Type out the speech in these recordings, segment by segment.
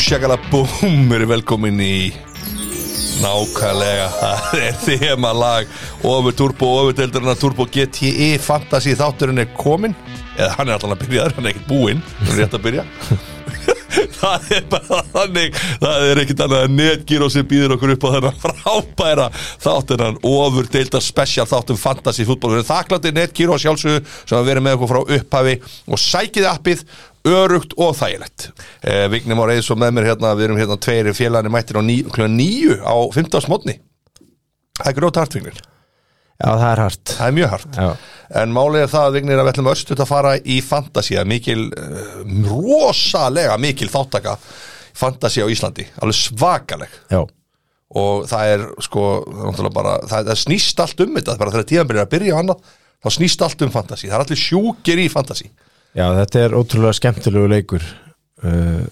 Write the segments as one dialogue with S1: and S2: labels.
S1: Shakala Boom eru velkomin í nákvæmlega það er þema lag ofur Turbo, ofur deildurinn Turbo GTI Fantasy þátturinn er komin eða hann er allan að byrja, hann er ekkert búinn hann er rétt að byrja það er bara þannig það er ekkert annað að netgíró sem býður okkur upp á þennan frábæra þáttunan ofur deildar special þáttum Fantasy fútból, við erum þakklandið netgíró sjálfsögðu sem hafa verið með okkur frá upphafi og sækið appið örugt og þægilegt eh, Vignum á reyðs og með mér hérna við erum hérna tveir félagni mættir á níu, klukkan níu á 15. mótni það er grót hart Vignir,
S2: Já, það er hart
S1: það er mjög hart
S2: Já.
S1: en málið er það að Vignir að við ætlum örstuð að fara í fantasy að mikil, eh, rosalega mikil þáttaka fantasy á Íslandi, alveg svakaleg
S2: Já,
S1: og það er sko náttúrulega bara, það, það snýst allt um þetta bara þegar tíðan byrjar að byrja á annað þá snýst allt um fantasy, það er allir sjúkir í fantasy
S2: já þetta er ótrúlega skemmtilegu leikur uh,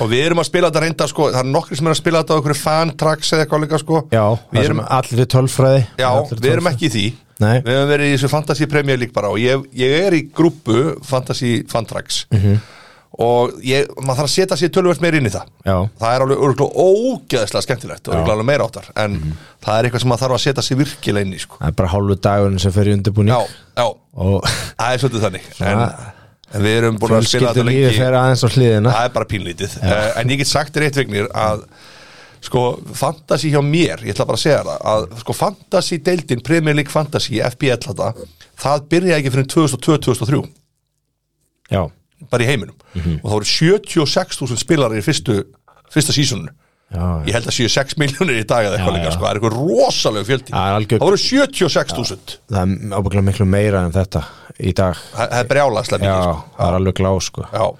S1: Og við erum að spila þetta reynda sko, það er nokkri sem er að spila þetta á einhverju fantrax eða eitthvað líka sko
S2: Já,
S1: við
S2: það
S1: erum,
S2: sem allir er tölfræði
S1: já,
S2: Allri
S1: við erum
S2: tölfræði.
S1: ekki í því
S2: Nei.
S1: Við höfum verið í þessu fantasy premjör lík bara og ég, ég er í grúpu fantasy fantrax
S2: Mhm.
S1: -hmm. og ég, maður þarf að setja sér tölvöld meir inn í það
S2: Já,
S1: Það er alveg örgulega ógeðslega skemmtilegt og örgulega alveg meira áttar en
S2: Mhm.
S1: það er eitthvað sem maður þarf að setja sér virkilega inn í sko
S2: það er bara hálfu dagurinn sem fer í undirbúning
S1: Já, já,
S2: Og
S1: það er svolítið þannig en,
S2: Svona-
S1: en við erum búin að spila
S2: fjölskyldur
S1: þetta
S2: lífi
S1: lengi
S2: fer aðeins á hliðina
S1: það er bara pínlítið uh, en ég get sagt þér eitt vignir að sko fantasy hjá mér ég ætla bara að segja það að sko fantasy deildin Premier League fantasy FBL þetta það byrja ekki fyrir 2002-2003
S2: Já,
S1: bara í heiminum
S2: Mhm.
S1: og þá eru 76.000 spilarar í fyrstu fyrsta sísunum
S2: já, já.
S1: ég held að séu 6 miljónir í dag eða eitthvað
S2: Já,
S1: líka
S2: já.
S1: sko það er eitthvað rosaleg fjöldi
S2: Það er algjör-
S1: það voru 76.000
S2: það er ábygglega miklu meira en þetta í dag
S1: það það er brjálagslega
S2: Já,
S1: mikið sko.
S2: það er alveg glá sko
S1: Já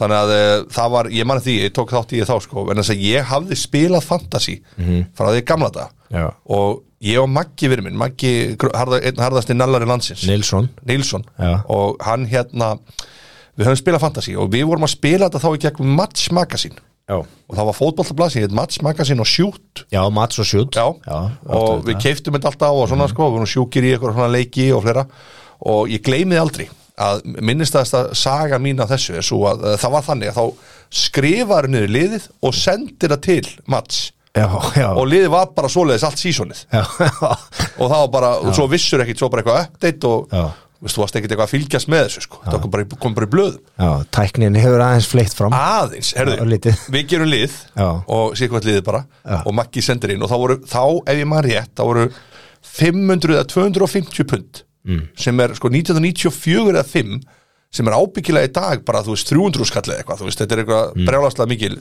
S1: Þannig að eh, það var, ég manna því, ég tók þátt í því þá sko, en þess að ég hafði spilað fantasy frá því gamla dag
S2: Já.
S1: og ég og Maggi verið minn, Maggi, gr- harða, einn harðasti nallari landsins,
S2: Nilsson
S1: Nilsson
S2: Já.
S1: og hann hérna, við höfum spilað fantasy og við vorum að spila þetta þá í gegnum Match Magazine
S2: Já,
S1: og það var fótballtablasin, hétt Match Magazine og Shoot
S2: já Mats og Sjút
S1: Já,
S2: og
S1: og við keiftum þetta alltaf á og svona sko, við vorum sjúkir í eitthvað svona leiki og fleira og ég gleymiði aldrei að minnist að þetta saga mín af þessu er svo að eh, það var þannig að þá skrifar niður liðið og sendir það til Mats
S2: Já, já,
S1: og liðið var bara svoleiðis allt sísonið
S2: já,
S1: og það var bara, og svo vissur ekkit svo bara eitthvað update og
S2: Já.
S1: veist, þú varst ekkit eitthvað að fylgjast með þessu sko, það kom bara, í- kom bara í blöðum
S2: já Tæknin hefur aðeins fleitt
S1: Ah.
S2: fram
S1: aðeins,
S2: Já,
S1: herðu,
S2: lítið.
S1: við gerum lið
S2: Já.
S1: og sér hvað liðið bara
S2: Já.
S1: og Maggi sendir inn og þá voru, þá ef ég maður rétt, þá voru 500 eða 250 pund
S2: Mm.
S1: sem er sko 1994 eða 5 sem er ábyggilega í dag bara þú veist 300 skall eða eitthvað, þú veist þetta er eitthvað mm. brjálaslega mikil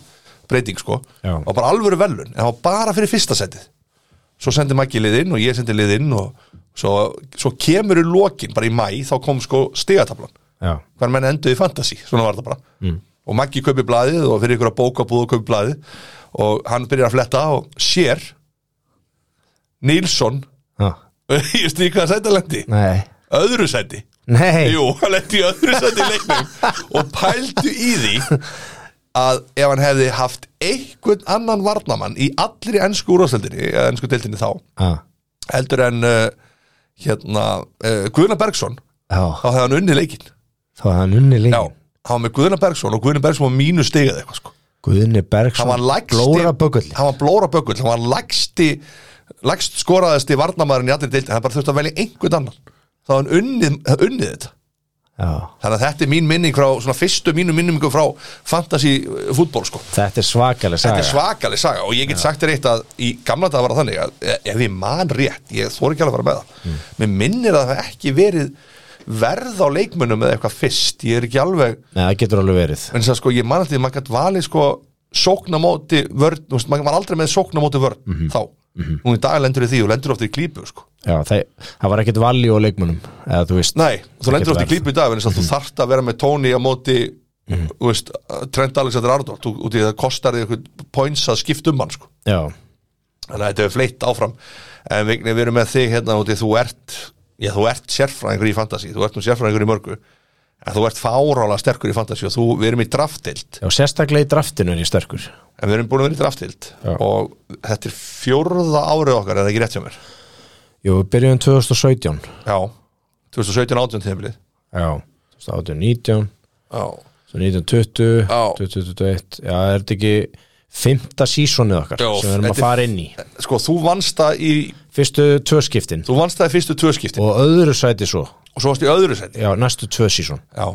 S1: breyting sko
S2: Já.
S1: og bara alvöru velun, en það var bara fyrir fyrsta setið svo sendi Maggi lið inn og ég sendi lið inn og svo, svo kemur í lokin, bara í mæ þá kom sko stigatablan
S2: Já,
S1: hvað menn enduði í fantasy, svona var það bara og Maggi kaupi blaðið og fyrir ykkur að bóka búið og kaupi blaðið og hann byrjar að fletta og sér Nilsson
S2: já,
S1: ég veist ekki hvað sæti hann lendi
S2: nei
S1: öðru sæti,
S2: Nei,
S1: jú, hann lendi í öðru sæti í leiknum og pældu í því að ef hann hefði haft einhvern annan varnamann í allri ennsku úrvarsdeldinni eða ennsku deildinni þá,
S2: Já,
S1: heldur en uh, hérna, uh, Guðna Bergson
S2: já,
S1: þá hefði hann unni leikinn
S2: þá var hann unni
S1: Já,
S2: líka
S1: hann var með Guðna Bergson og Guðna Bergson var mínu stigað eitthvað sko
S2: Guðni
S1: Hann
S2: Bergson,
S1: var lægsti
S2: glóra bögull
S1: Hann var blóra bökull, hann var lægsti lægst skoraðasti varnamaðurinn í allir deildi hann bara þurfti að velja einhvern annan þá hann unnið, hann unnið þetta
S2: Já,
S1: þannig að þetta er mín minning frá, svona fyrstu mínu minningu frá fantasy eh, fútbol sko
S2: þetta er svakalega saga
S1: Þetta er svakaleg saga og ég get sagt þér eitt að í gamla dag var það þannig að eh, ef ég man rétt, ég þóri ekki alveg að fara með það mér minnir að það hafi ekki verið verð á leikmönnum eða eitthvað fyrst ég er ekki alveg
S2: Nei, það getur alveg verið
S1: en þess að sko ég man alltaf maður gætt valið sko sóknamóti vörn, þú veist, maður var aldrei með sóknamóti vörn þá, nú í dag lendur þið því og lendur oft í klípu sko,
S2: Já, það, það var ekkert valjú á leikmunum Eða þú veist
S1: nei, þú
S2: Ekkert
S1: lendur oft í
S2: verð.
S1: klípu í dag, en þess að þú þarft að vera með tóni á móti, þú veist Trent Alexander Arnold, þú- út í það kostar þið eitthvað points að skipta um hann sko
S2: Já,
S1: þannig að þetta er fleitt áfram en Vigni, við erum með þig hérna úti þú ert, já þú ert sérfræðingur í fantasy þú ert nú sérfræðingur í mörgu en þú ert fárála sterkur í fantasy og þú, við erum í draftild
S2: já sérstaklega í draftinu er ég sterkur
S1: En við erum búin að vera í draftild
S2: Já.
S1: og þetta er fjórða árið okkar, er það ekki rétt hjá mér?
S2: Jú, við byrjuðum 2017
S1: Já, 2017-18 tíðanbilið.
S2: Já, 2018, 19
S1: Já.
S2: Svo 1920,
S1: Já.
S2: 2021 Já, er þetta ekki fymta sísonið okkar
S1: Já,
S2: sem við erum
S1: þetta
S2: að
S1: er-
S2: fara inn í
S1: Sko, þú vannst það í
S2: Fyrstu tvö skiptin
S1: Þú vannst það í fyrstu tvö skipti
S2: og öðru sæti svo
S1: og svo varst í öðru seti
S2: Já, næstu tvö síson
S1: Já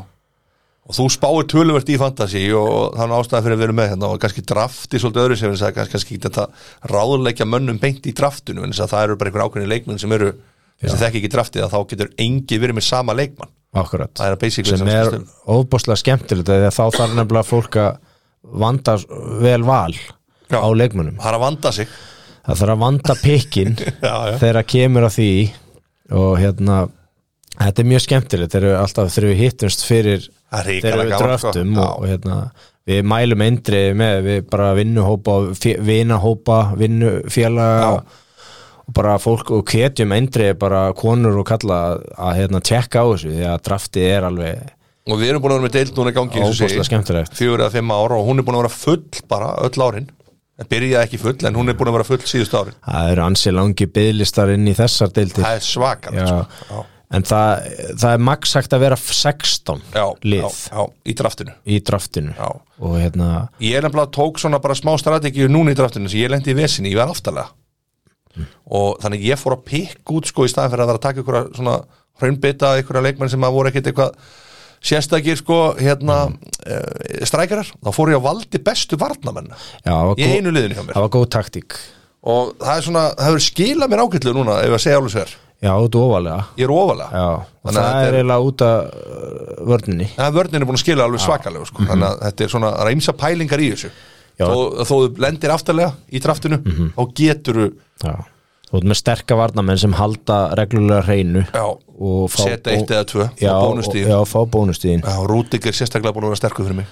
S1: Og þú spáir töluvert í fantasy og þannig ástæði fyrir að vera með hérna og kannski drafti svolítið öðru sem þess að kannski ekki þetta ráðleikja mönnum beint í draftinu en þess að það eru bara einhver ákveðni leikmenn sem eru sem þekki ekki draftið að þá getur engi verið með sama leikmann
S2: Akkurat
S1: Það er basically
S2: sem
S1: sem
S2: er
S1: snýst
S2: óbúslega skemmtilegt af því að þá þarf nefnilega fólk að vanda vel val
S1: Já.
S2: á leikmönnum
S1: Það er að vanda sig
S2: það þarf að vanda pikkin
S1: Já, já.
S2: þegar kemur að því og hérna þetta er mjög skemmtilegt þegar við alltaf þegar við hittumst fyrir
S1: Það er sko.
S2: þegar
S1: ríkala
S2: við dröftum og, og hérna við mælum eindri með við bara vinnuhópa og fé- vinahópa, vinnufélaga
S1: Já.
S2: og bara fólk og ketjum eindri bara konur og kalla að, að hérna tjekka á þessu því að draftið er alveg
S1: og við erum búin að vera með deild núna í gangi eins og
S2: Óbúslega
S1: segi,
S2: skemmtilegt.
S1: fjögur eða fimm ára og hún er búin að vera full bara öll árin en byrjaði ekki full en hún er búin að vera full síðust árin
S2: það eru ansi langi byðlistar inn í þessar deildir
S1: það er svakar
S2: Já.
S1: sko.
S2: en það, það er maks hægt að vera 16
S1: já, já,
S2: lið
S1: já, í draftinu
S2: í draftinu
S1: Já.
S2: og hérna
S1: ég er nefnilega tók svona bara smá strategíu núna í draftinu sem ég lendi í vesinni, ég var aftalega og þannig ég fór að pikk út sko í staðan fyrir að vera að taka einhverja svona hraunbytta, einhverja leikmenn sem að voru ekkit eitthvað sérstakir sko hérna mm. strækjarar, þá fór ég að valdi bestu varnamenn
S2: já, það var
S1: í
S2: góð-
S1: einu liðinu hjá mér
S2: það var góð taktík
S1: og það er svona, það hefur skilað mér ágætlu núna ef að segja alveg sér,
S2: já, út ofalega
S1: ég er ofalega
S2: já, og
S1: Þannig að þetta
S2: það er
S1: er-
S2: eiginlega út af uh, vörninni
S1: það er vörnin er búin að skila alveg svakalega sko. þannig að þetta er svona reymsa pælingar í þessu
S2: Já. Mhm.
S1: þó, þó þú lendir aftarlega í draftinu þá getur
S2: já. þú ert með sterka varnamenn sem halda reglulega hreinu
S1: já,
S2: og fá
S1: seta eitt
S2: bó-
S1: eða tvö
S2: já,
S1: og bónustíð
S2: já, fá bónustíðin
S1: Rúdík er sérstaklega búin að vera sterkur fyrir mig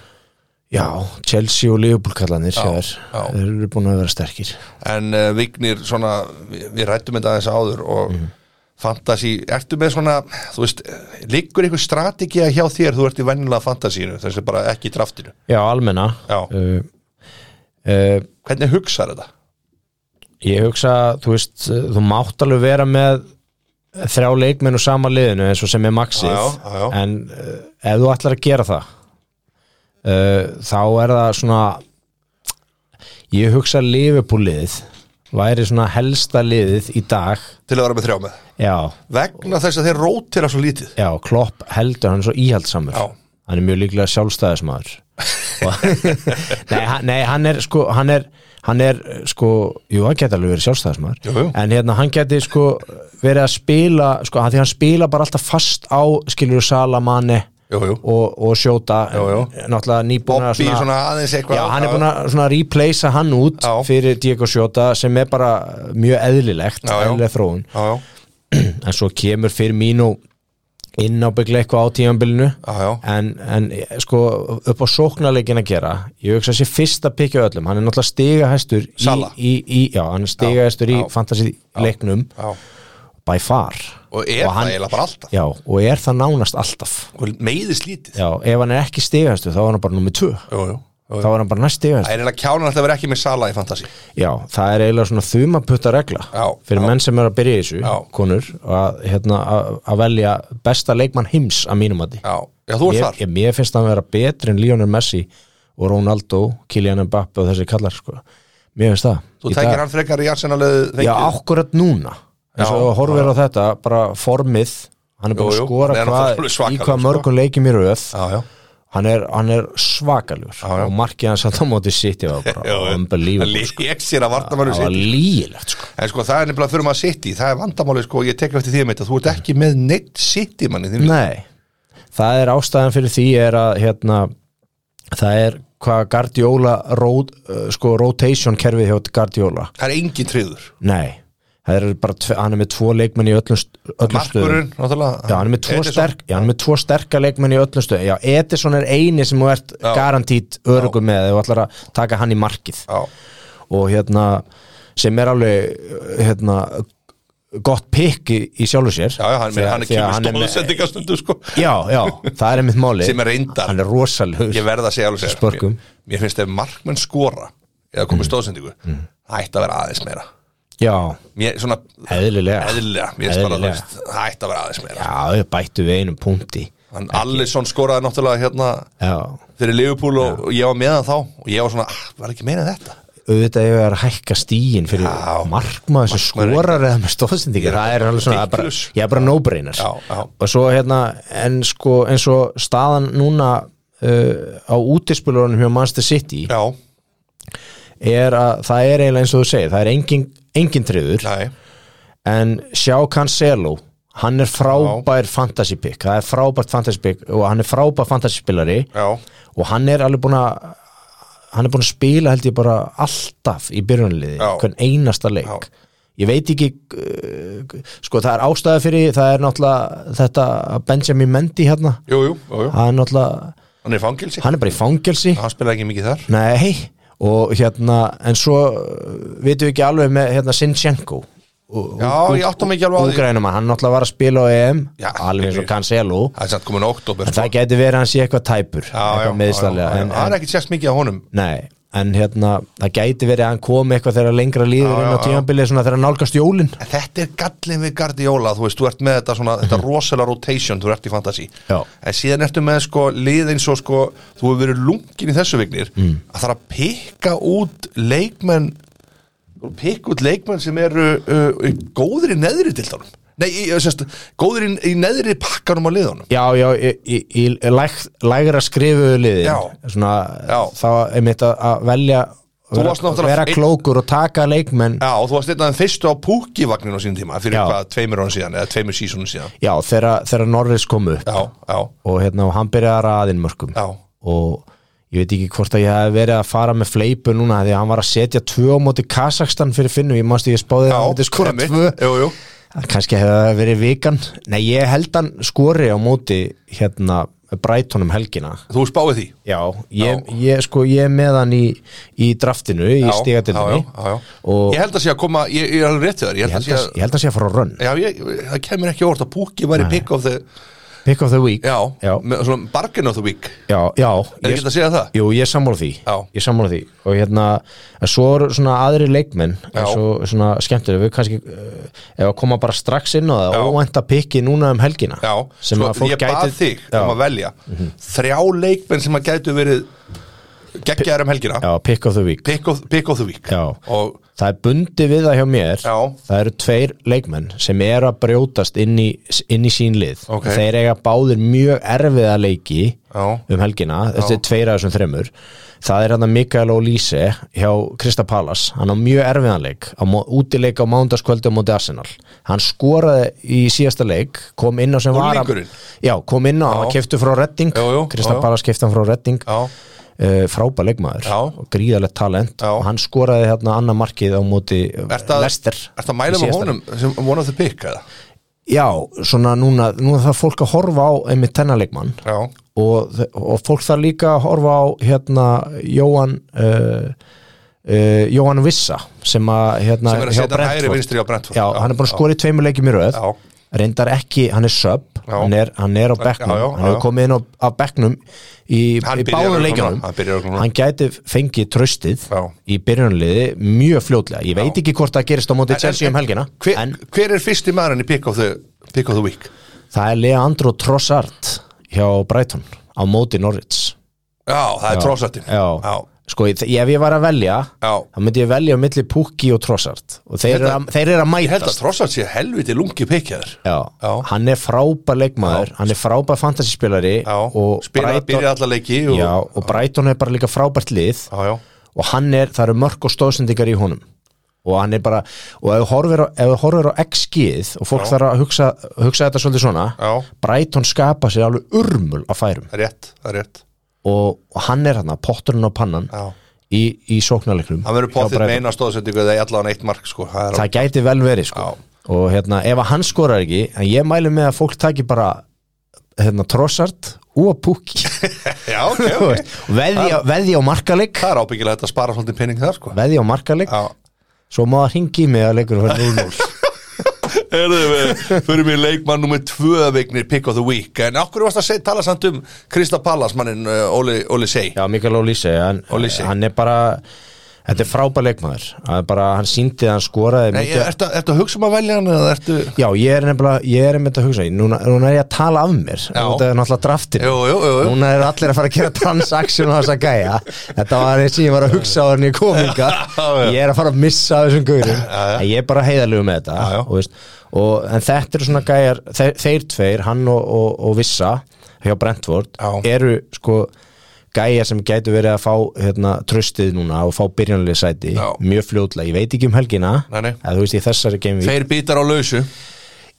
S2: já, Chelsea og Liverpool kallanir já,
S1: já.
S2: þeir eru búin að vera sterkir
S1: en uh, Vignir svona, við, við rættum þetta aðeins áður og
S2: Mhm.
S1: fantasy, ertu með svona þú veist, liggur einhver strategía hjá þér, þú ert í vennilega fantasíinu þess að bara ekki í draftinu
S2: já, almenna
S1: Já.
S2: uh, uh,
S1: hvernig hugsar þetta?
S2: ég hugsa, þú veist uh, þú mátt alveg vera með þrjá leikmenn úr sama liðinu eins og sem er maxið
S1: Já, já, já.
S2: en uh, ef þú ætlar að gera það uh, þá er það svona ég hugsa Liverpool liðið væri svona helsta liðið í dag
S1: til að vera með þrjá með
S2: já,
S1: vegna þess að þeir rótira svo lítið
S2: já Klopp heldur hann er svo íhaldsamur
S1: Já.
S2: hann er mjög líklega sjálfstæðismæður nei, hann- nei, hann er sko, hann er, hann er sko, jú, hann geti alveg verið sjálfstæðismæður
S1: Jú, jú.
S2: en hérna, hann geti sko verið að spila, sko, að því hann spila bara alltaf fast á, skilur Salamani
S1: jú, jú.
S2: og, og sjóta
S1: Jú, jú.
S2: náttúrulega nýbúna
S1: Bobby svona aðeins eitthvað
S2: Já, hann er búin að svona replacea hann út
S1: Já.
S2: fyrir Diego Sjóta sem er bara mjög eðlilegt,
S1: Já, já.
S2: eðlileg þróun
S1: já, já,
S2: en svo kemur fyrir mínu inn á byggla eitthvað á tímanbylinu
S1: já, já,
S2: en, en sko upp á sóknarleikin að gera ég hugsa að sé fyrst að pikja öllum hann er náttúrulega stigahæstur í,
S1: Sala.
S2: í, í, já, hann er stigahæstur í
S1: já.
S2: fantasy leiknum
S1: já.
S2: by far
S1: og er
S2: Og hann-
S1: það eiginlega bara alltaf
S2: já, og er það nánast alltaf
S1: og meiðist lítið
S2: já, ef hann er ekki stigahæstur þá er hann bara nummið 2
S1: jú, jú.
S2: þá er hann bara næst
S1: það
S2: stigahæstur
S1: er eiginlega kjánan alltaf að vera ekki með sala í fantasi
S2: já, það er eiginlega svona þumaputta regla
S1: Já,
S2: fyrir
S1: já.
S2: menn sem er að byrja í þessu
S1: Já.
S2: konur að, hérna, að, að velja besta leikmann heims að mínum að
S1: já, já, þú ert
S2: mér,
S1: þar
S2: ég, mér finnst það að vera betri en Lionel Messi og Ronaldo, Kylian Mbappe og þessi kallar sko. mér finnst það
S1: þú
S2: Í dag-
S1: tækir hann frekar í arsenalið
S2: Já, akkurat núna
S1: Já,
S2: eins og þú horfir á þetta, bara formið hann er
S1: Jú,
S2: búin að
S1: jú,
S2: skora
S1: hann er
S2: hvað,
S1: náttúrulega svakalegur, sko.
S2: í hvað mörgum leikjum í röð
S1: já, já,
S2: hann er, hann er svakaljur
S1: já.
S2: og markið hans að það móti sitt var
S1: já,
S2: bara
S1: hann
S2: unbelievable sko.
S1: lék sér að vartamannu
S2: það var
S1: sitt
S2: lígilegt sko.
S1: en sko það er nefnilega fyrir maður sitt í það er vandamáli sko, ég tekur eftir því að meita þú ert ekki með neitt sitt í manni þín
S2: Nei, það er ástæðan fyrir því er að hérna, það er hvað Guardiola rót, uh, sko, rotation kerfið hjá Guardiola
S1: það er engin triður
S2: Nei, það er bara tve, hann er með tvo leikmenn í öllum, st- öllum stöðum
S1: markurinn, náttúrulega
S2: Já, hann er með tvo,
S1: Edison.
S2: sterk, já, hann er með tvo sterka leikmenn í öllum stöðum Já, Edison er eini sem þú ert
S1: Já.
S2: garantít örugum með ef þú ætlar að taka hann í markið
S1: já,
S2: og hérna sem er alveg hérna gott pikk í, í sjálfu sér
S1: já, já, hann,
S2: Þegar-
S1: hann er
S2: þegar
S1: kemur
S2: með-
S1: stóðsendingastundu sko
S2: Já, já, það er einmitt máli
S1: Sem er reyndar.
S2: Hann er rosalegur
S1: ég verða að segja alveg sér
S2: Spörkum.
S1: mér, mér finnst ef markmenn skora eða komið mm. stóðsendingu það ætti að vera aðeins meira
S2: Já,
S1: mér, svona
S2: eðlilega
S1: eðlilega, mér finnst bara, þú
S2: Eðlilega.
S1: veist, það ætti að vera aðeins meira
S2: Já, ég bættu við einum punkti
S1: Hann Allison skoraði náttúrulega hérna
S2: já,
S1: fyrir Liverpool og, og ég var með hann þá og ég var svona, ah, var ekki meina þetta
S2: auðvitað ef ég er að hækka stíin fyrir
S1: Já.
S2: markmaður sem
S1: Markmaður.
S2: skorar eða með stóðsendingar, það er alveg svona það er bara,
S1: Ridiculous.
S2: ég er bara no-brainer
S1: Já, já.
S2: og svo hérna, en sko eins og staðan núna uh, á útispilurunum hjá Manchester City
S1: Já,
S2: er að það er eiginlega eins og þú segir, það er engin, engin triður
S1: nei,
S2: en sjá Cancelo hann er frábær fantasy pick það er frábært fantasy pick og hann er frábær fantasy spilari
S1: já
S2: og hann er alveg búin að hann er búin að spila held ég bara alltaf í byrjunliði,
S1: Já.
S2: hvern einasta leik
S1: Já.
S2: ég veit ekki uh, sko það er ástæða fyrir því, það er náttúrulega þetta Benjamin Mendy hérna
S1: Jú, jú, jú, jú.
S2: hann er náttúrulega,
S1: hann er fangelsi
S2: hann er bara í fangelsi
S1: Hann spilaði ekki mikið þar
S2: Nei, og hérna en svo uh, vitum við ekki alveg með hérna Sinchenko
S1: Já, ég átta mig ekki alveg á því.
S2: Úgrænum, hann náttúrulega var að spila á EM
S1: Já,
S2: alveg eins og Cancelo
S1: Það er samt sko. komin oktober
S2: en það geti verið að hann sé eitthvað tæpur eitthvað meðstallega en,
S1: Það er
S2: en,
S1: ekki sérst mikið á honum
S2: nei, en hérna, það gæti verið að hann komi eitthvað þegar lengra
S1: Já,
S2: líður inn á
S1: já, já.
S2: tímanbilið svona þegar hann nálgast jólin
S1: En þetta er gallin við Guardiola Þú veist, þú ert með þetta svona Þetta rosalega rotation Þú ert í fantasy
S2: Já.
S1: En síðan ertu með sko Lið eins og sko Þú hefur verið lungin í þessu vignir mm. Að það er að pikka út leikmenn Pikka út leikmenn sem eru uh, uh, Góðir í neðri dildunum Nei, í, uh, sérst, góðir í, í neðri pakkanum á liðunum
S2: Já, já, í, í, í læg, lægra skrifuðu liðin
S1: Já.
S2: svona,
S1: Já.
S2: þá er mitt að, að velja vera,
S1: varst náttúrulega
S2: vera
S1: einn-
S2: klókur og taka leikmenn
S1: Já, og þú varst einn af þeim fyrstu á púkivagninu á sínum tíma Fyrir
S2: Já.
S1: hvað, tveimur án síðan Eða tveimur sísunum síðan
S2: Já, þegar þegar Norris kom upp
S1: Já, já,
S2: og hérna og hann byrjaði að raðin mörgum
S1: já
S2: og ég veit ekki hvort að ég hef verið að fara með fleipu núna því að hann var að setja tvö á móti Kazakstan fyrir Finnu, ég mást ég spáði
S1: Já,
S2: að hann myndi skora
S1: einmitt.
S2: tvö
S1: Jú, jú,
S2: Hann kannski hefði það verið vikan Nei, ég held hann skori á móti hérna Brightonum helgina
S1: þú spáið því
S2: Já, ég, ég sko ég er með hann í, í draftinu, í
S1: Já,
S2: stigatildinni
S1: já, já, já.
S2: og
S1: Ég held að sé að koma, ég, ég er alveg rétt til þar Ég
S2: ég
S1: held að
S2: held
S1: sé
S2: að,
S1: að,
S2: ég held að sé að fara á run
S1: já, ég, það kemur ekki óvart að Pukki var í pick of the
S2: Pick of the week
S1: Já,
S2: já,
S1: Með, svona bargain of the week
S2: já,
S1: Er
S2: já
S1: ekki að segja það?
S2: Jú, ég er sammála því
S1: Já.
S2: Ég er sammála því Og hérna, en svo eru svona aðri leikmenn
S1: Já.
S2: Svo svona skemmtileg Við kannski, uh, ef að koma bara strax inn á það
S1: Já.
S2: Óvænta pikki núna um helgina
S1: Já,
S2: Sem
S1: sko,
S2: að fólk
S1: ég bað
S2: gæti
S1: þig
S2: já, Mhm.
S1: um að velja Þrjá leikmenn sem að gætu verið geggjaðar um helgina
S2: já, pick of the week
S1: pick of, pick of the week
S2: Já.
S1: Og
S2: Það er bundi við það hjá mér
S1: Já.
S2: Það eru tveir leikmenn sem eru að brjótast inn í, inn í sín lið
S1: Ok.
S2: Þeir eiga báðir mjög erfiða leiki
S1: Já.
S2: um helgina Þetta er tveir af þessum þremur Það er hann að Mikael Olíse hjá Krista Palas Hann á mjög erfiðan leik á mó- útileik á mándaskvöldu á móti Arsenal Hann skoraði í síðasta leik kom inn á sem var
S1: Unglingurinn?
S2: Já, kom inn á, hann keftu frá Redding
S1: Jú, jú,
S2: Krista
S1: já, já.
S2: Palas kefti hann frá Redding
S1: já,
S2: uh, frábær leikmaður
S1: Já.
S2: og gríðalegt talent
S1: Já.
S2: og hann skoraði hérna annar markið á móti
S1: ert að,
S2: Lester
S1: ert að mæla með honum sem one of the pick eða?
S2: Já, svona núna, núna það er fólk að horfa á einmitt þennan leikmann
S1: Já,
S2: og, þe- og fólk þarf líka að horfa á hérna Jóhann uh, uh, Jóhann Vissa sem að hérna
S1: sem er að
S2: hjá
S1: setja hægri
S2: Brentford.
S1: vinstri á Brentford
S2: Já, hann er búin að skora í tveimur leikjum í röð
S1: Já.
S2: reyndar ekki, hann er sub
S1: Já.
S2: hann er, hann er á bekknum,
S1: Já, já,
S2: hann
S1: já.
S2: hefur komið inn á, á bekknum í,
S1: Hann
S2: í
S1: byrjar
S2: báðum
S1: örugglega
S2: leikjum
S1: núna, hann byrjar örugglega núna.
S2: hann gæti fengið tröstið
S1: Já.
S2: í byrjunliði mjög fljótlega, ég veit ekki hvort það gerist á móti
S1: En-
S2: Chelsea
S1: en-
S2: um helgina
S1: hver,
S2: en
S1: hver er fyrsti maðurinn í pick of the, pick of the week?
S2: það er Leandro Trossard hjá Brighton á móti Norwich
S1: Já, það er trósartin
S2: Já.
S1: já,
S2: sko, ég- ef ég var að velja
S1: Já.
S2: þá myndi ég velja á milli Pukki og Trossard og þeir,
S1: Ég held
S2: eru
S1: að-
S2: að, þeir eru að
S1: Ég held að
S2: mætast
S1: trósart sé helviti lungi pikkjaður
S2: Já.
S1: Já.
S2: hann er frábær leikmaður hann er frábær fantasyspilari
S1: Já,
S2: og
S1: spila,
S2: Brighton-
S1: byrja alla leiki og,
S2: Já, og Brighton er bara líka frábært lið
S1: já, já,
S2: og hann er, það eru mörg og stóðsendingar í honum og hann er bara, og ef þú horfir á, ef þú horfir á XG-ið og fólk þarf að hugsa, hugsa þetta svolítið svona
S1: Já.
S2: Brighton skapa sér alveg urmul að færum
S1: það er rétt, það er rétt
S2: og, og hann er hann, potturinn á pannan
S1: Já.
S2: í, í sóknarleiknum
S1: Hann verður
S2: hjá
S1: potið
S2: Brighton.
S1: með eina stóðsendingu eða allan eitt mark sko Það er,
S2: það gæti vel verið sko.
S1: Já.
S2: og hérna, ef að hann skorar ekki en ég mælu með að fólk taki bara hérna, trossart og púki
S1: já, ok,
S2: Þú
S1: ok
S2: veist, og veðja, veðja á markaleik
S1: Það er ábyggilega þetta að spara svolítið pening þar sko
S2: veðja á markaleik,
S1: Já
S2: svo má það ringi mig að leikur fyrir 0-0
S1: Erðu við, fyrir mér leikmann nummer tvö vignir pick of the week En okkur varst að segja, tala samt um Krista Pallas mannin uh, Óli, Óli Sey
S2: Já, Mikael Olise, hann,
S1: Olise.
S2: hann er bara þetta er frábær leikmaður Það er bara, hann síndi að hann skoraði
S1: Nei,
S2: mikið
S1: ertu, ertu að hugsa um að velja hann eða ertu
S2: Já, ég er nefnilega, ég er einmitt að hugsa núna, núna er ég að tala af mér
S1: Já.
S2: Þetta er náttúrulega draftin
S1: Jú, jú, jú, jú.
S2: Núna eru allir að fara að gera transaction á þessa gæja Þetta var eins og ég var að hugsa á hann í kominga
S1: já.
S2: Ég er að fara að missa af þessum gaurum
S1: Já, já.
S2: En ég er bara heiðalegu með þetta
S1: Já, já.
S2: Og, veist, og, En þetta eru svona gæjar þeir, þeir tveir, hann og, og, og Vissa hjá Brentford
S1: Já.
S2: eru sko gæjar sem gætu verið að fá hérna, tröstið núna og fá byrjanlega sæti
S1: Já.
S2: mjög fljótlega, ég veit ekki um helgina
S1: Nei, nei.
S2: eða þú veist í þessari game week
S1: Þeir bítar á lausu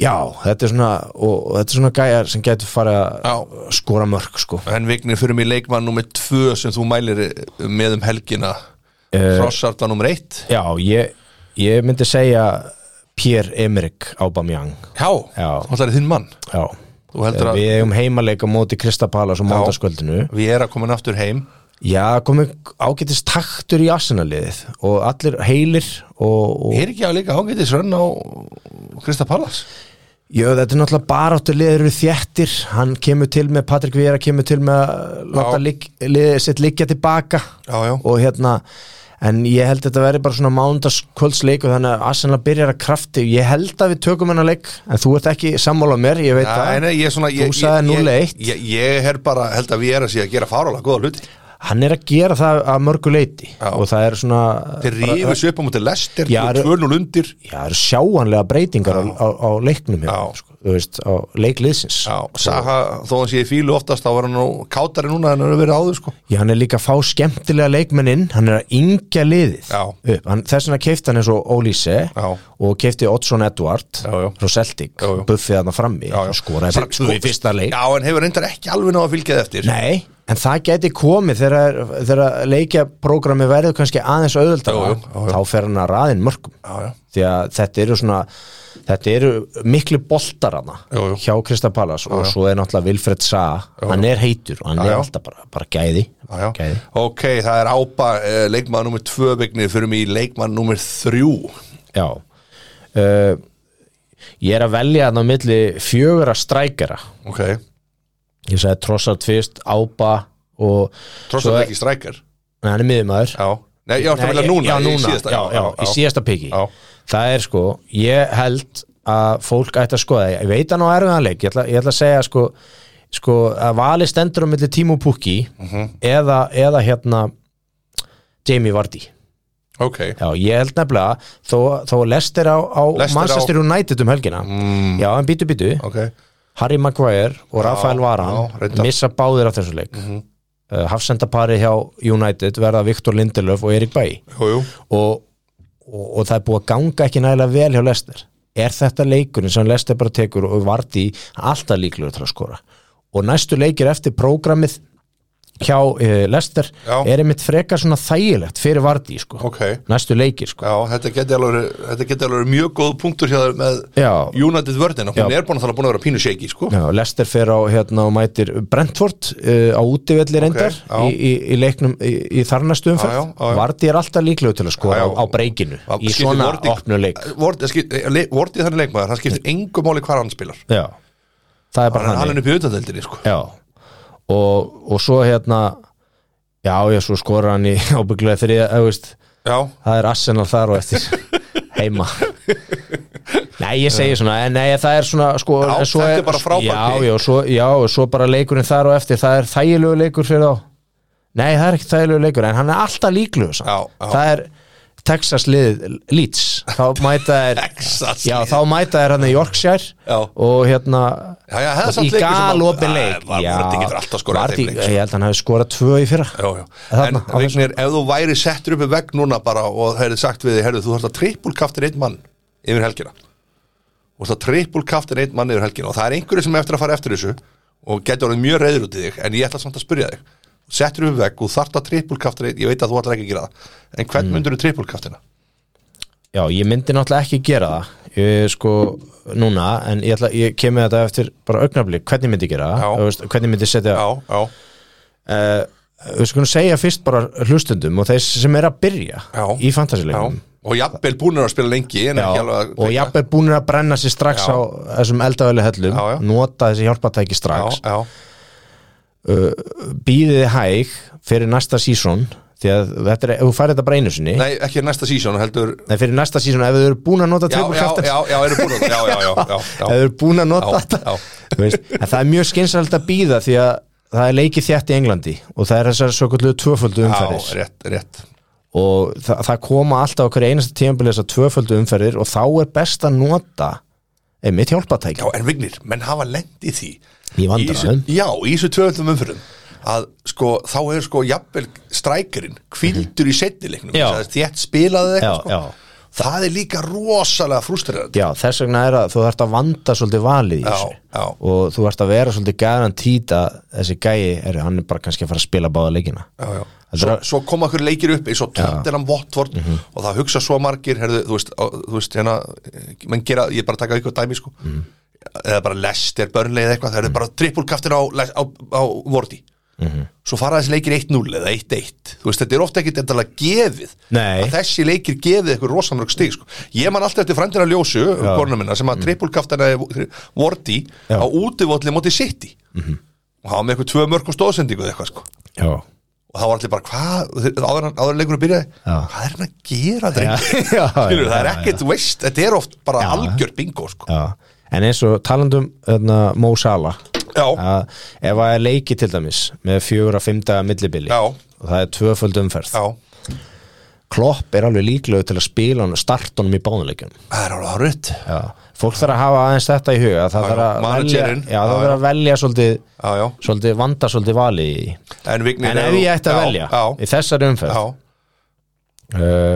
S2: Já, þetta er svona, og, og þetta er svona gæjar sem gætu fara að
S1: Já.
S2: skora mörg sko
S1: En Vignir fyrir mig leikmann nummer tvö sem þú mælir með um helgina
S2: Eh.
S1: Hrossarta nummer eitt
S2: Já, ég, ég myndi segja Pierre-Emerick Aubameyang
S1: Já, Eh,
S2: Já.
S1: það er þinn mann
S2: Já,
S1: Þú heldur að
S2: við eigum heimaleika móti Kristapalas og mándaskvöldinu
S1: við erum að koma aftur heim
S2: Já, komið ágætist taktur í Arsenaliðið og allir heilir og, og
S1: Er ekki að líka ágætis rönn á Krista Pallas
S2: Jö, þetta er náttúrulega baráttur liður þjættir, hann kemur til með Patrik Vera kemur til með að láta
S1: Já.
S2: lík, liðið sitt liggja tilbaka
S1: Já, já.
S2: og hérna en ég held þetta verði bara svona mándaskvöldsleik og þannig að Arsenal byrjar að krafti ég held að við tökum hennar leik en þú ert ekki sammála mér, ég veit það
S1: Nei, nei, ég er svona ég,
S2: Þú sagði
S1: ég-
S2: 0-1.
S1: Ég, ég, ég er bara, held að við erum að sé að gera fárálega góða hluti
S2: hann er að gera það að mörgu leiti
S1: Já.
S2: og það er svona
S1: Þeir rífið sér upp á múti lestir
S2: Já, eru-
S1: 2-0 undir
S2: já, það eru sjáanlega breytingar á, á, á leiknum hérna,
S1: Já.
S2: sko, þú veist, á leikliðsins
S1: Já, Saha, þó hann sé í fílu oftast þá var hann nú kátari núna en hann er verið áður sko
S2: Já, hann er líka að fá skemmtilega leikmenninn, hann er að yngja liðið
S1: Já.
S2: upp, hann, þess vegna keifti hann eins og Ólíse
S1: Já.
S2: og keifti Oddsson Edward
S1: Já, já.
S2: frá Celtic,
S1: Já, já.
S2: buffið hann frammi
S1: Já, já.
S2: skoraði bara
S1: Sko-
S2: tvö í fyrsta leik
S1: Já, en hefur reyndar ekki alveg ná að fylgja það eftir
S2: Nei, en það gæti komið þegar, þegar leikjaprógrammi verður kannski aðeins
S1: Já,
S2: auðvöldara
S1: já, já, já.
S2: þá fer hann að raðin mörgum
S1: Já, já,
S2: því að þetta eru svona þetta eru miklu boltar hana
S1: Jú, jú.
S2: hjá Krista Pallas og svo er náttúrulega Vilfred Sa hann er heitur og hann
S1: Já,
S2: er
S1: já.
S2: alltaf bara, bara gæði,
S1: já, já.
S2: gæði.
S1: Ok, það er ápa eh, leikmann nummer 2 vignið fyrir mig í leikmann nummer 3
S2: Já uh, Ég er að velja hann á milli fjögura strækjara
S1: Ok,
S2: Ég sagði Trossard fyrst, Ába og
S1: tross
S2: Svo
S1: að
S2: er-
S1: það ekki strækir
S2: Nei, hann er miðumæður
S1: Já, nei, ég átti að velja núna
S2: Já,
S1: í
S2: núna,
S1: síðasta-
S2: já, já, í síðasta piki
S1: Já.
S2: Það er sko, ég held að fólk ætti að skoða, ég veit hann á erfiðanleik ég ætla, ég ætla að segja sko, sko að vali stendur á milli Tímo Pukki
S1: mhm.
S2: eða, eða hérna Jamie Vardy
S1: Ok,
S2: Já, ég held nefnilega þó, þó lestir á, á
S1: Leicester á-
S2: Manchester United um helgina mm. Já, en býtu býtu
S1: ok
S2: Harry Maguire og Rafael Varan
S1: já, reyndar. Mhm.
S2: missa báðir af þessu leik mm hafsendapari hjá United verða Viktor Lindelöf og Erik Bæ
S1: Jú, jú
S2: og, og, og það er búið að ganga ekki nægilega vel hjá Lester er þetta leikurinn sem Lester bara tekur og varti alltaf líklegur til að skora og næstu leikir eftir prógramið hjá uh, Lester
S1: Já.
S2: er einmitt frekar svona þægilegt fyrir Vardí sko.
S1: Ok.
S2: næstu leikir sko.
S1: Já, þetta geti alveg, verið- þetta geti alveg verið mjög góð punktur hjá þér með
S2: Já.
S1: United vörðin og hún
S2: Já.
S1: er búin að það búin að vera pínu shaky, sko
S2: Já, Lester fer á hérna og mætir Brentford uh, á útivelli reyndar
S1: já.
S2: í, í, í leiknum í, í þarnastu
S1: Já, já,
S2: umferð
S1: já, já.
S2: Vardí er alltaf líklegur til að skora
S1: Já, já.
S2: á, á breykinu
S1: Já,
S2: í
S1: skiptir
S2: svona
S1: Vardy-
S2: opnu leik
S1: Vortið þannig leikmaður, hann skiptir engu máli hvar hann spilar
S2: já. það er bara
S1: Hann, hann er
S2: hann
S1: upp í auðvitaðeldinni sko.
S2: já. Og, og svo hérna já, já, svo skora hann í ábygglega þriða, eða veist
S1: Já,
S2: það er Arsenal þar og eftir heima Nei, ég segi svona, en nei, það er svona sko,
S1: Já,
S2: en svo
S1: þetta er bara frábært
S2: Já,
S1: leik.
S2: já, svo, já, og svo bara leikurinn þar og eftir það er þægilegu leikur fyrir þá Nei, það er ekki þægilegu leikur, en hann er alltaf líklegu samt.
S1: Já, já.
S2: Það er Texas lið Leeds þá mæta er
S1: Texas
S2: Já,
S1: lið.
S2: þá mæta er hann í Yorkshire
S1: Já.
S2: og hérna
S1: Já, já, það er samt
S2: í
S1: leikur sem hann-
S2: galopin
S1: Æ,
S2: leik
S1: var- Vardy getur alltaf skorað
S2: Vardy-
S1: þeim leik, sko.
S2: Ég held að hann hafi skorað tvö í fyrra
S1: já, já. En
S2: Þarna, á þessu.
S1: Vignir, ef þú væri settur upp í vegg núna bara og það er sagt við þig, herðu, þú þarft að trippulkaftir einn mann yfir helgina Þú þarft að trippulkaftir einn mann yfir helgina og það er einhverju sem er eftir að fara eftir þessu og getur orðið mjög reyður út í þig en ég ætla samt að spyrja þig Þú settur upp í vegg og þarft að trippulkaftir einn ég veit að þú ætlar ekki að gera það en hvern mm. myndur þú trippulkaftina?
S2: Já, ég myndi náttúrulega ekki gera það ég, sko núna en ég, ætla, ég kem með þetta eftir bara augnablík hvernig myndi ég gera
S1: Já.
S2: það, þú veist, hvernig myndi ég setja
S1: Já, já,
S2: Eh, við skulum segja fyrst bara hlustundum og þeir sem er að byrja
S1: Já.
S2: í fantasileikum
S1: og jafnvel búinir að spila lengi en ekki alveg
S2: og jafnvel búinir að brenna sér strax
S1: Já.
S2: á þessum eldavölu hellum
S1: Já, já.
S2: nota þessi hjálpatæki
S1: já,
S2: strax
S1: já,
S2: býðið hæg fyrir næsta sísón því að þetta er, ef þú færir þetta bara einu sinni nei.
S1: Nei, ekki næsta sísón, heldur
S2: fyrir næsta sísón, ef þau eru búin að nota
S1: Já,
S2: triple
S1: já,
S2: captain
S1: já, já, eru búin að Já, já, já, já,
S2: ef þau
S1: já,
S2: eru búin að nota
S1: já,
S2: þetta
S1: já.
S2: Þú veist, en það er mjög skynsælt að býða því að það er leikið þjætt í Englandi og það er þessar svo kvöldlu tvöföldu umferðir
S1: Já, rétt, rétt
S2: og þa það koma alltaf okkur einasta tímabilið þessar tvöföldu umferðir og þá er best að nota einmitt hjálpatæki
S1: Já, en Vignir, menn hafa lent í því
S2: í
S1: Í þessu-
S2: vandræðum
S1: Já, í þessu tvöfaldum umfyrum að sko, þá er sko jafnvel strækirinn kvildur í setnileiknum
S2: Já.
S1: þétt spilaði
S2: Já,
S1: eitthvað sko.
S2: já.
S1: það er líka rosalega frustrerandi
S2: Já, þess vegna er að þú þarft að vanda svolítið valið í
S1: Já,
S2: þessu
S1: já.
S2: og þú þarft að vera svolítið gæðan títa þessi gæi, er, hann er bara kannski að fara að spila báða leikina
S1: Já, já.
S2: Þetta
S1: Svo,
S2: er að- Mhm.
S1: svo koma okkur leikir upp eins og tóttinam vottvort og það hugsa svo margir herðu, þú, veist, á, þú veist hérna eh, menn gera, ég er bara að taka ykkur dæmi sko.
S2: Mhm.
S1: eða bara lester börnlega eða eitthvað það eru bara trippulkaftin á, Les- á, á vorti
S2: Mhm.
S1: svo fara þessi leikir 1-0 eða 1-1 þú veist þetta er ofta ekkit endala gefið
S2: Nei.
S1: að þessi leikir gefið eitthvað rosamörg stig sko. ég man alltaf eftir frændina ljósu konuna minna sem að trippulkaftina vorti
S2: Mhm. Já. Mhm.
S1: á útivotli móti sitt og hafa með eitthvað tvö mörg og stóðsendingu eða eitthvað sko
S2: Já,
S1: og þá var allir bara hvað þeir- áður, en- áður en leikurinn byrjaði
S2: Já.
S1: hvað er hann að gera drengir
S2: Já,
S1: skilur
S2: já,
S1: það er
S2: já,
S1: ekkert veist þetta er oft bara
S2: Já.
S1: algjör bingo sko.
S2: já En eins og talandum öðna, Mo Salah
S1: já,
S2: að ef að er leiki til dæmis með fjögur að fimmta millibili
S1: Já.
S2: og það er tvöföld umferð
S1: já
S2: Klopp er alveg líklegur til að spila hann startunum í bánuleikjum
S1: það er alveg árið
S2: Fólk þarf að hafa aðeins þetta í huga það
S1: Já,
S2: þarf
S1: já,
S2: að velja,
S1: managerinn.
S2: já,
S1: Já,
S2: það þarf að velja svolítið,
S1: já, já
S2: svolítið vanda svolítið valið í
S1: en, Vignir,
S2: En ef
S1: þú-
S2: ég ætti að
S1: já,
S2: velja
S1: já,
S2: í þessari umferð
S1: já,
S2: uh,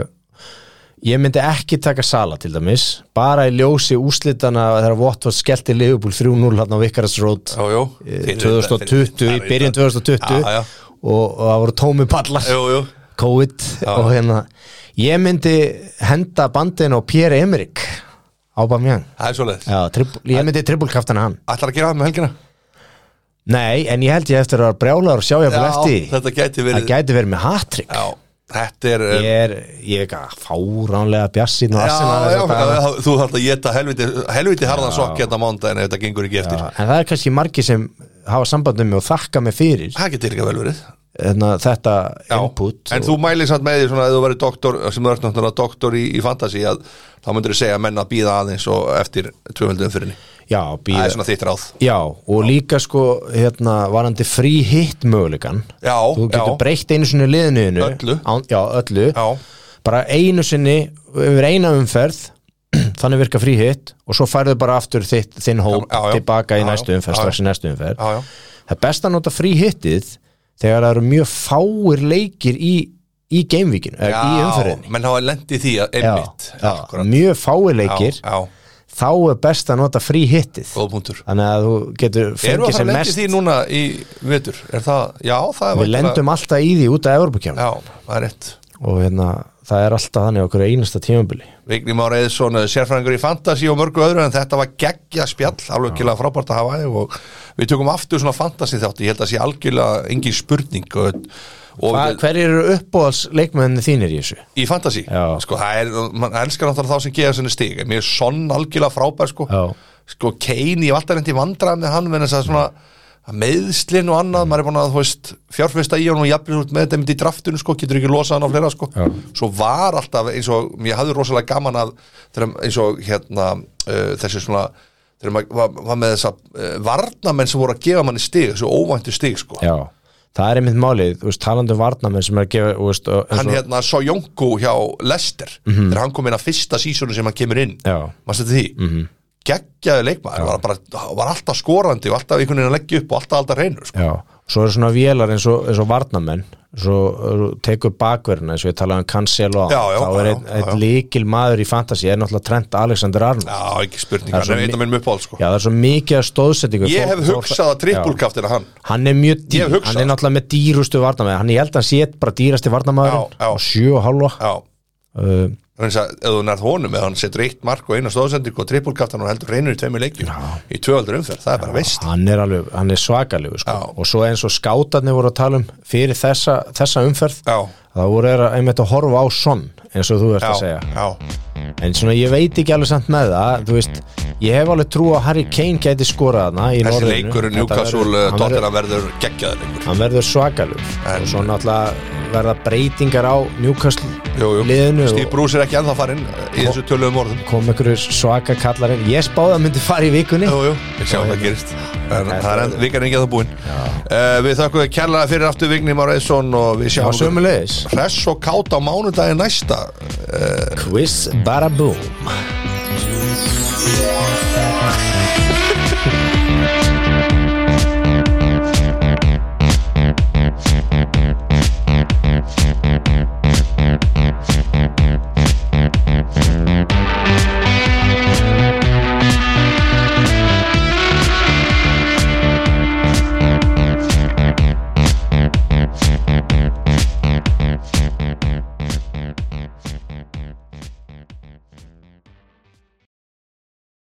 S2: Ég myndi ekki taka Sala til dæmis Bara í ljósi úslitana þegar Watford skellti Liverpool 3-0 hann á Vicarage Road
S1: já, já
S2: eh, 2020, í byrjun 2020
S1: Já, já.
S2: Og, og það voru tómi pallar
S1: jú, jú
S2: COVID og hérna Ég myndi henda bandin á Pierre Emerick Aubameyang
S1: það er svoleiðis
S2: Já, tripl, ég myndi trippulkaftana hann
S1: ætlar að gera það með helgina
S2: Nei, en ég held ég eftir að vera brjálaður og sjá ég bara eftir því.
S1: þetta gæti
S2: Það
S1: verið
S2: gæti verið með hattrick
S1: já, þetta er eh,
S2: Ég er, ég er eitthvað fáránlega bjassinn og
S1: Já,
S2: arsenal
S1: já,
S2: þessa dagana.
S1: já, þú þarf að geta helviti, helviti harðan sokk hérna á mándaginn ef þetta gengur ekki eftir.
S2: Já, en það er kannski margir sem hafa samband um mig og þakka mig fyrir
S1: Það getur líka vel verið.
S2: Þannig að þetta
S1: Já,
S2: input
S1: en
S2: og,
S1: þú mælir samt með því svona að þú verið doktor, sem þú ert náttúrulega doktor í, í fantasy að þá myndur þú segja að menn að býða aðeins og eftir tvöfaldum fyrir henni
S2: já,
S1: það er
S2: býða,
S1: svona þitt ráð
S2: já, og líka sko hérna, varandi frí hitt mögulegan
S1: Já,
S2: þú getur
S1: já,
S2: breytt einu sinni liðinuðinu
S1: Öllu.
S2: á, já, öllu
S1: já,
S2: bara einu sinni yfir eina umferð þannig virka frí hitt og svo færðu bara aftur þitt, þinn hóp
S1: Já, já, já.
S2: tilbaka í
S1: Já, já,
S2: næstu umferð,
S1: já, já.
S2: strax í næstu umferð
S1: já, já,
S2: það er best að nota frí hittið þegar það eru mjög fáir leikir í, í gamevíkinu, eða í umferðinni
S1: menn hafa lendið því að
S2: Já,
S1: einmitt
S2: já,
S1: Akkúrat.
S2: mjög fáir
S1: Já,
S2: leikir
S1: já,
S2: þá er best að nota frí hittið
S1: góð punktur
S2: þannig að þú getur
S1: Erum við
S2: fengið
S1: að
S2: sem
S1: fara að
S2: mest
S1: lendi því núna í vetur? Er það, já, það er
S2: við
S1: væntanlega-
S2: lendum alltaf í því út af Evropakefni
S1: Já, það er rétt
S2: og hérna, það er alltaf þannig okkur einasta tímabili
S1: Vigni Már Eðsson, sérfræðingur í Fantasí og mörgu öðru en þetta var geggja spjall alveg ekki frábært að hafa þig og við tökum aftur svona Fantasí þáttu, ég held að sé algjörlega engin spurning og, og
S2: Hva- hverjir eru uppbóðs leikmenni þínir í þessu?
S1: í Fantasí,
S2: Já.
S1: sko það er, mann elskar náttúrulega þá sem geða sinni stig mér er sonn algjörlega frábær sko
S2: Já.
S1: sko Kane, ég hef alltaf reyndi vandrað með hann, menn þess að svona að meðslin og annað, maður er búin að þú veist fjárfesta í hann og jafnir út með þetta myndi í draftinu sko, getur ekki losað hann á fleira sko
S2: Já.
S1: svo var alltaf eins og, ég hafði rosalega gaman að þegar, eins og hérna uh, þessi svona, þegar maður var, var með þessa uh, varnamenn sem voru að gefa manni stig, þessu óvæntu stig sko
S2: Já, það er einmitt málið, þú veist, talandum varnamenn sem er að gefa, þú veist, og- eins
S1: hann
S2: og-
S1: hérna Sojonko hjá Lester þegar hann kom inn að fyrsta sísónu sem hann kemur inn
S2: Mhm. Já. Mhm.
S1: maður stætti því mm -hmm. geggjaði leikmaður, var, bara, var alltaf skorandi og alltaf einhvern veginn að leggja upp og alltaf alltaf reynur sko.
S2: Já, svo eru svona vélar eins og, eins og varnamenn svo eru- tekur bakverðina eins og ég talaði um Cancelo á
S1: Já, já,
S2: þá er
S1: já,
S2: einn
S1: já, já.
S2: ein líkil maður í fantasy er náttúrulega Trent Alexander Arnold
S1: já, ekki spurning,
S2: Það er
S1: hann
S2: svo
S1: er einn af minnum uppáhald sko.
S2: Já, það er svo mikið að stóðsetningu
S1: ég
S2: Þó-
S1: hef
S2: þó-
S1: hugsað að trippulkaftina hann
S2: Já, Hann er mjög
S1: Ég hef
S2: dýr,
S1: hugsað
S2: hann er
S1: það.
S2: náttúrulega með dýrustu varnamenn hann ég held að hann sé bara dýrasti varnamaðurinn
S1: Já, já.
S2: og sjö og halva
S1: já,
S2: uh,
S1: þannig að ef þú nærð honum eða hann setur eitt mark og eina stóðsending og trippulkaftina hann heldur reynur í tveimur leikjum í tvöaldur umferð, það er bara veist
S2: hann er alveg, hann er svakalegu sko.
S1: Já.
S2: og svo eins og skátarnir voru að tala um fyrir þessa, þessa umferð
S1: já,
S2: þá voru þeir að- einmitt að horfa á sonn eins og þú ert
S1: já,
S2: að segja
S1: já,
S2: En svona ég veit ekki alveg samt með það Þú veist, ég hef alveg trú að Harry Kane gæti skorað hana í
S1: þessi
S2: norðinu
S1: leikur
S2: Þetta verður-
S1: Newcastle, eh,
S2: hann verður-
S1: Tottenham verður geggjaði leikur
S2: Hann verður svakalur
S1: En-
S2: Og svo náttúrulega verða breytingar á Newcastle
S1: jú, jú.
S2: liðinu
S1: Steve
S2: og
S1: Bruce er ekki ennþá farinn í þessu töluðum orðum
S2: kom einhverju svaka kallarinn ég spáði að myndi fara í vikunni
S1: Jú, jú, við sjáum hvað gerist en
S2: Þetta
S1: það er
S2: er-
S1: enn- vikan er ekki að það búin uh, Við þakkuðum kærlega fyrir aftur Vigni Máreðsson og við
S2: Já,
S1: sjáum ykkur
S2: sömulegis
S1: hress og káta á mánudagi næsta
S2: Quiz Baraboo